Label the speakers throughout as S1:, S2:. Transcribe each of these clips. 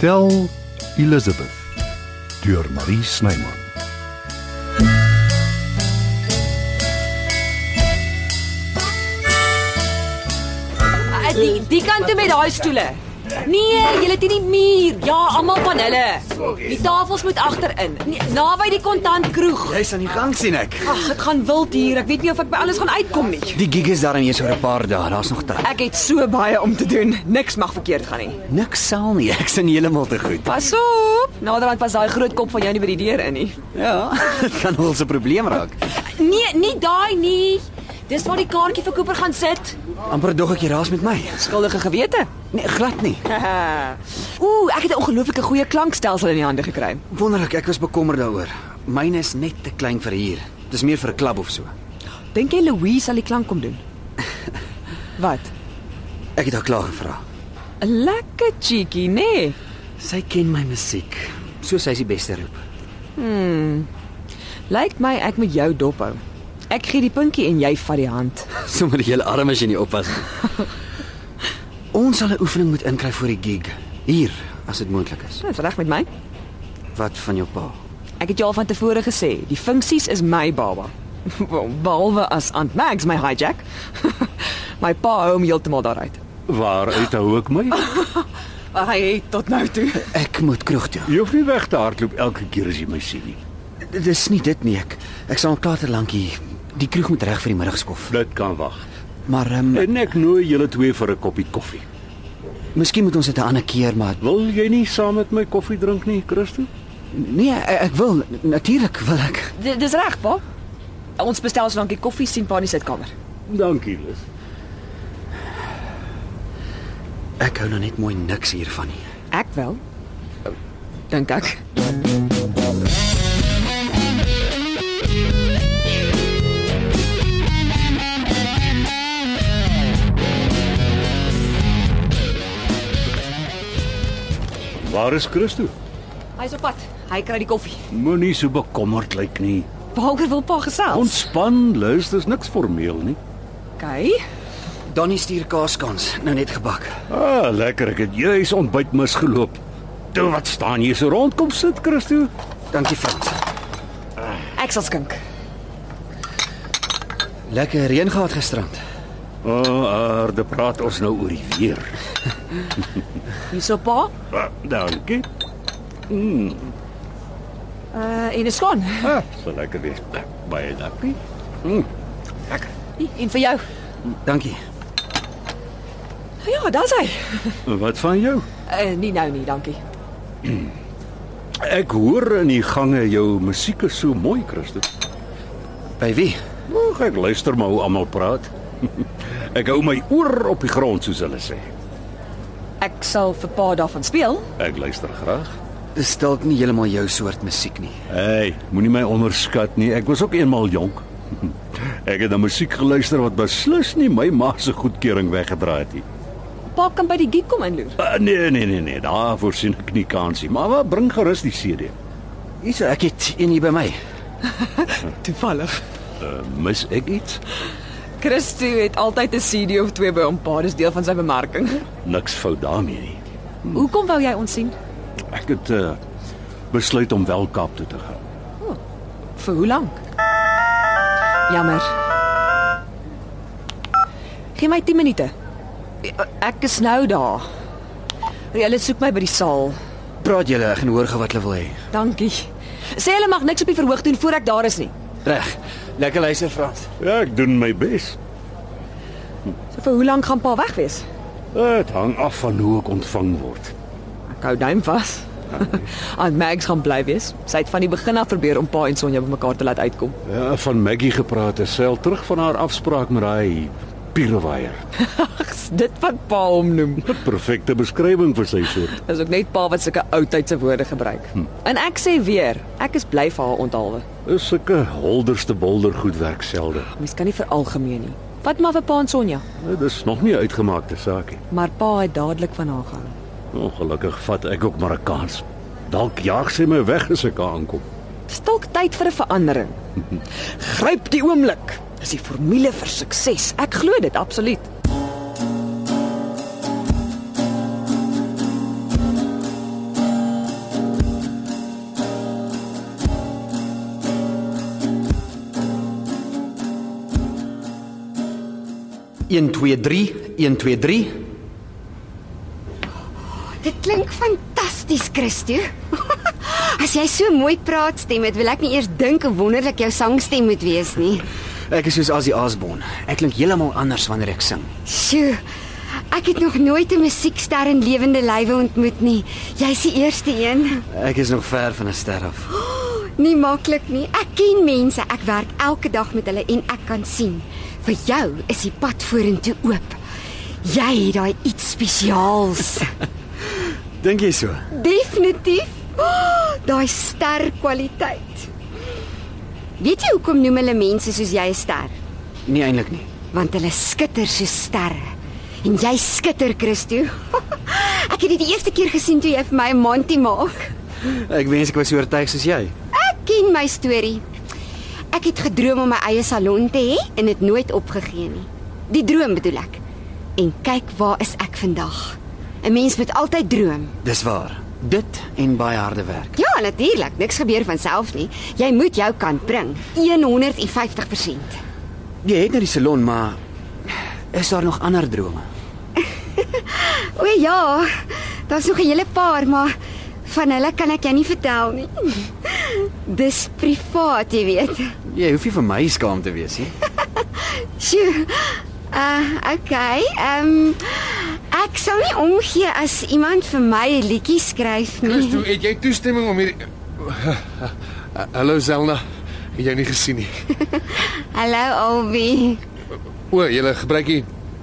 S1: Tel Elizabeth deur Marie Snyman.
S2: Ah, Die die kant toe met daai stoele. Nee, julle teen die muur. Ja, almal van hulle. Die tafels moet agterin, nee, naby die kontantkroeg.
S3: Jy's aan die gang sien ek.
S2: Ag, dit gaan wild hier. Ek weet nie of ek by alles gaan uitkom nie.
S3: Die gig is daarin eers oor 'n paar dae, daar's nog tyd.
S2: Ek het so baie om te doen. Niks mag verkeerd gaan nie.
S3: Niks sal nie, ek sien heeltemal te goed.
S2: Pas op. Naderhand pas daai groot kop van jou nie by die deur in nie.
S3: Ja, dit kan wel 'n probleem raak.
S2: Nee, nie daai nie. Dis waar die kaartjieverkoper gaan sit.
S3: Amper dog ek jy raas met my.
S2: Skuldige gewete.
S3: Nee, glad nie.
S2: Ooh, ek het 'n ongelooflike goeie klankstelsel in die hande gekry.
S3: Wonderlik, ek was bekommerd daaroor. Myne is net te klein vir hier. Dis meer vir 'n klub of so.
S2: Dink jy Louise sal die klank kom doen? Wat?
S3: Ek het haar klaar gevra.
S2: 'n Lekker cheeky, nê? Nee.
S3: Sy ken my musiek. So sy's die beste roep.
S2: Lyk my ek moet jou dop hou. Ek gee die puntjie en jy vat die hand.
S3: Sommer die hele arm as jy nie oppas nie. Ons sal 'n oefening moet inkry vir die gig. Hier, as dit moontlik is.
S2: Dis reg met my.
S3: Wat van jou pa?
S2: Ek het jou al van tevore gesê, die funksies is my baba. Wel, Behalwe as Aunt Mags my hijack. my pa hou hom heeltemal daaruit.
S4: Waaruit hou ek my?
S2: Hy het tot nou toe.
S3: Ek moet kroeg toe.
S4: Jy hoef nie weg te hardloop elke keer as jy my sien nie.
S3: D- Dis nie dit nie ek. Ek sal klaar te lank hier. Die kroeg moet reg vir die middagskof.
S4: Dit kan wag.
S3: Maar ehm um,
S4: En ek nooi julle twee vir 'n koppie koffie.
S3: miskien moet ons dit 'n ander keer maar
S4: Wil jy nie saam met my koffie drink nie, Christo?
S3: nee, ek, ek wil natuurlik wil ek.
S2: D- Dis reg, pa. Ons bestel so lank die koffie sien pa in die sitkamer.
S4: Dankie, Lis.
S3: Ek hou nou net mooi niks hiervan nie.
S2: Ek wel. Dink ek.
S4: Waar is Christo?
S2: Hy's op pad. Hy kry die koffie.
S4: Moenie so bekommerd lyk nie.
S2: Waaroor wil pa gesels?
S4: Ontspan, Lis, dis niks formeel nie.
S2: okay.
S3: Donnie stuur kaaskans, nou net gebak.
S4: Ah, lekker. Ek het juis ontbyt misgeloop. Toe wat staan jy so rond? Kom sit, Christo.
S3: Dankie Frans.
S2: Ek sal skink.
S3: Lekker reën gehad gisterand.
S4: O, oh, aarde, praat ons nou oor die weer.
S2: Hierso pa.
S4: Ah, dankie.
S2: Uh en is gaan.
S4: Ah, so lekker weer. Baie dankie.
S2: Hier, En vir jou.
S3: Dankie.
S2: Ja, daar's hy.
S4: Wat van jou?
S2: Uh, nie nou nie, dankie.
S4: Ek hoor in die gange jou musiek is so mooi, Christus.
S3: By wie?
S4: Mag ek luister maar hoe almal praat? ek hou my oor op die grond soos hulle sê.
S2: Ek sal vir pa daarvan speel.
S4: Ek luister graag.
S3: Dis dalk nie heeltemal jou soort musiek nie.
S4: Hey, moenie my onderskat nie. Ek was ook eenmal jonk. ek het na musiek geluister wat beslis nie my ma se goedkeuring weggedraai het nie.
S2: Pa kan by die geek kom inloer.
S4: Ah, nee, nee, nee, nee, daarvoor sien ek nie kansie. Maar wat bring gerus die CD?
S3: Hierso, ek het een hier by my.
S2: Toevallig.
S4: Uh, mis ek iets?
S2: Christo het altyd 'n CD of twee by hom pa, dis deel van sy bemarking.
S4: Niks fout daarmee nie.
S2: Hoekom wou jy ons sien?
S4: Ek het uh, besluit om wel Kaap toe te gaan.
S2: Vir hoe lank? Jammer. Gee my 10 minute. Ek is nou daar. Hulle soek my by die saal.
S3: Praat julle, ek gaan hoor gou wat hulle wil hê.
S2: Dankie. Sê hulle mag niks op die verhoog doen voor ek daar is nie.
S3: Reg. Lekker luister Frans.
S4: Ja, ek doen my bes.
S2: So vir hoe lank gaan pa weg wees?
S4: Dit hang af van hoe ek ontvang word.
S2: Ek hou duim vas. Aunt Mags gaan bly wees. Sy het van die begin af probeer om pa en Sonja bymekaar te laat uitkom.
S4: Ja, van Maggie gepraat, is sy al terug van haar afspraak met daai pierwaier.
S2: Dis dit wat pa hom noem.
S4: 'n Perfekte beskrywing vir sy soort.
S2: Dis ook net pa wat sulke ou tydse woorde gebruik. En ek sê weer, ek is bly vir haar onthaalwe.
S4: Is sulke holderste bolder goed werk selde.
S2: Mens kan nie veralgemeen nie. Wat maar vir pa en Sonja,
S4: Dit is nog nie 'n uitgemaakte saak nie.
S2: maar pa het dadelik van haar gehou.
S4: Ongelukkig vat ek ook maar 'n kans. Dalk jaag sy my weg as ek aankom.
S2: Dis dalk tyd vir 'n verandering. Gryp die oomblik. Dis die formule vir sukses. Ek glo dit absoluut.
S3: 1 2 3 1 2 3
S5: Dit klink fantasties, Christo. As jy so mooi praat stem, dit wil ek nie eers dink hoe wonderlik jou sangstem moet wees nie.
S3: Ek is soos Asie Asbon. Ek klink heeltemal anders wanneer ek sing.
S5: Sjoe. Ek het nog nooit 'n musiekster in lewende lywe ontmoet nie. Jy's die eerste een.
S3: Ek is nog ver van 'n ster af.
S5: Nie maklik nie. Ek ken mense. Ek werk elke dag met hulle en ek kan sien. Vir jou is die pad vorentoe oop. Jy het daai iets spesiaals.
S3: Dink jy so?
S5: Definitief. Oh, daai ster kwaliteit. Weet jy hoekom noem hulle mense soos jy 'n ster?
S3: Nee eintlik nie.
S5: Want hulle skitter soos sterre. En jy skitter, Christo. Ek het dit die eerste keer gesien toe jy vir my 'n mantie maak.
S3: Ek wens ek was so oortuig soos jy.
S5: Ek ken my storie. Ek het gedroom om my eie salon te hê en dit nooit opgegee nie. Die droom bedoel ek. En kyk waar is ek vandag. 'n Mens moet altyd droom.
S3: Dis waar. Dit en baie harde werk.
S5: Ja, natuurlik. Niks gebeur van self nie. Jy moet jou kant bring. 150%.
S3: Jy het nou die salon, maar is daar nog ander drome?
S5: O ja, daar's nog 'n hele paar, maar van hulle kan ek jou nie vertel nie. Dis privaat, jy weet.
S3: Jy hoef nie vir my skaam te wees nie.
S5: Sjoe. Uh, okay. Ehm um, ek sal nie omgee as iemand vir my 'n liedjie skryf nie.
S6: Christo, het jy toestemming om hier Hallo Zelna. Het jy nie gesien nie.
S5: Hallo Albi.
S6: O, jy gebruik die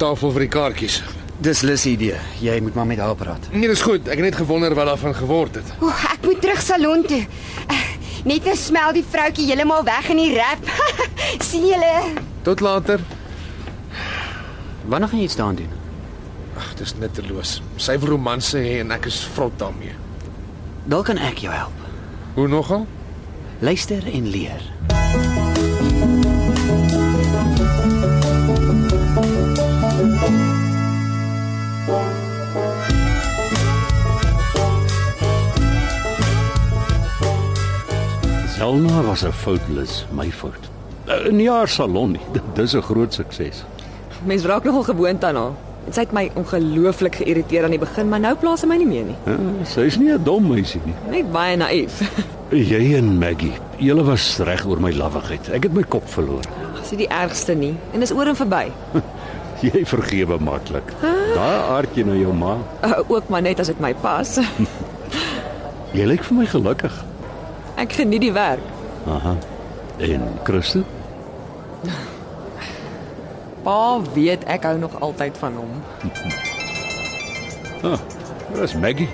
S6: tafel vir die kaartjies.
S3: Dis Lis idee. Jy moet maar met haar praat.
S6: Nee, dis goed. Ek het net gewonder wat daarvan geword het.
S5: O, ek moet terug salon toe. Eh, Net nou smel die vroutjie heeltemal weg in die rap. sien julle?
S6: Tot later.
S3: Wanneer gaan jy iets daaraan doen?
S6: Ag, dis nutteloos. Sy wil romanse hê en ek is vrot daarmee.
S3: Dalk kan ek jou help.
S6: Hoe nogal?
S3: Luister en leer.
S4: Selma was 'n foutlus, my Eh, fout. 'n Jaar salon, nie. dis 'n groot sukses.
S2: Mens raak nogal gewoond aan haar. En Sy het my ongelooflik geïrriteer aan die begin, maar nou plaas sy my nie meer nie.
S4: Ja, sy is nie 'n dom meisie nie.
S2: Net baie naïef.
S4: Jy en Maggie, julle was reg oor my lawwigheid. Ek het my kop verloor.
S2: Sy is die ergste nie en dis oor en verby.
S4: Jy vergewe maklik. Daai aardjie na jou ma.
S2: Uh, ook maar net as dit my pas.
S4: Jy lyk vir my gelukkig.
S2: Ek geniet die werk.
S4: Aha. En Christo?
S2: Pa weet ek hou nog altyd van hom.
S4: Ah, dis Maggie.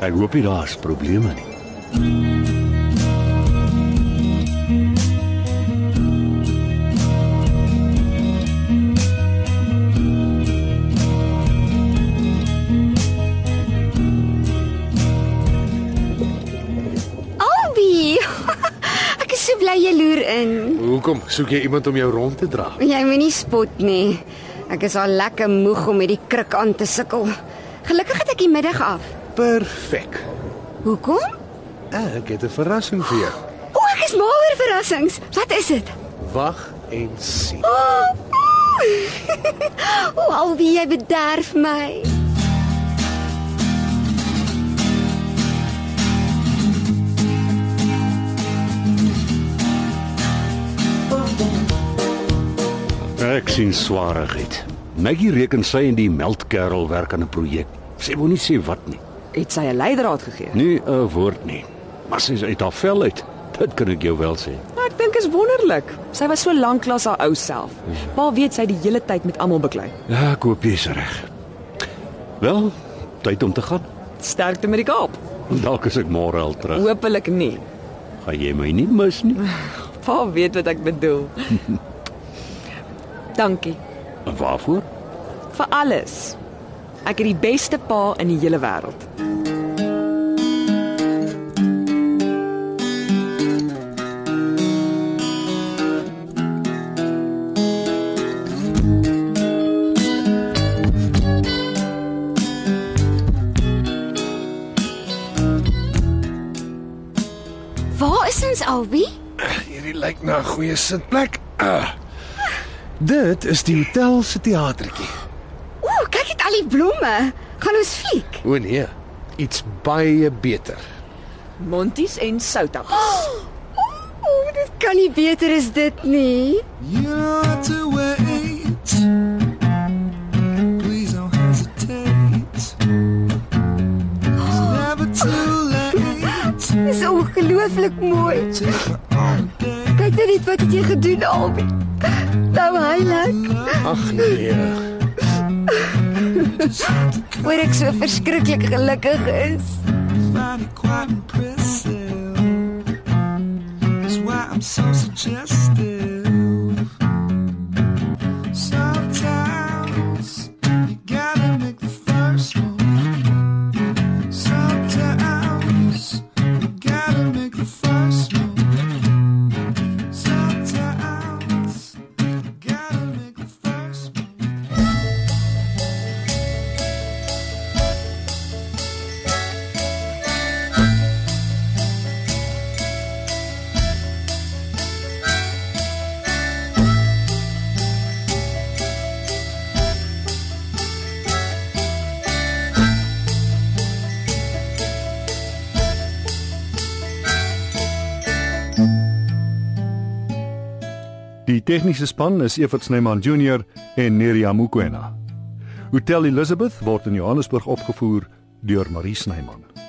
S4: Ek hoop nie daar's probleme nie.
S5: Albi. ek is so bly jy loer in.
S6: Hoekom soek jy iemand om jou rond te dra?
S5: Jy moenie spot nie. Ek is al lekker moeg om met die kruk aan te sukkel. Gelukkig het ek die middag af.
S6: Perfek.
S5: Hoekom?
S6: Ek het 'n verrassing vir jou.
S5: O, ek is mal oor verrassings. Wat is dit?
S6: Wag en sien. Ah,
S5: O, Alwie, jy bederf my.
S4: Ek sien swaarigheid. Maggie reken sy en die meltkerel werk aan 'n projek. Sy wil nie sê wat nie.
S2: Het sy 'n leidraad gegee?
S4: Nie 'n woord nie. Maar sy is uit haar vel uit. Dit kan ek jou wel sê.
S2: Maar Nou, ek dink is wonderlik. Sy was so lank lank haar ou self. Pa weet sy die hele tyd met almal beklei.
S4: Ja, ek hoop jy's reg. Wel, tyd om te gaan.
S2: Sterkte met die Kaap.
S4: Dalk is ek môre al terug.
S2: Hoopelik nie.
S4: Gaan jy my nie mis nie?
S2: Pa weet wat ek bedoel. Dankie
S4: Waarvoor?
S2: vir alles. Ek het die beste pa in die hele wêreld.
S5: Waar is ons Alwie?
S6: Hierdie lyk na 'n goeie sitplek. Ah, Dit is die hotel se teatertjie.
S5: O, kyk net al die blomme. Gaan ons fliek?
S6: O nee, iets baie beter.
S2: Monties en soutappels.
S5: O, dit kan nie beter as dit nie.
S7: You're to wait. Please don't hesitate. It's never too late.
S5: Dis ongelooflik mooi.
S7: Take her on a date.
S5: Kyk net net wat het jy gedoen, Albie. Nou hy lyk.
S6: Ag nee.
S5: Oor ek so verskriklik gelukkig is.
S7: Find it quite impressive. That's why I'm so suggestive. Sometimes you gotta make the first move. Sometimes you gotta make the first move. Sometimes you gotta make the first move.
S4: Die tegniese span is Evert Snyman Junior en Neriya Mukwena. Hotel Elizabeth word in Johannesburg opgevoer deur Marie Snyman.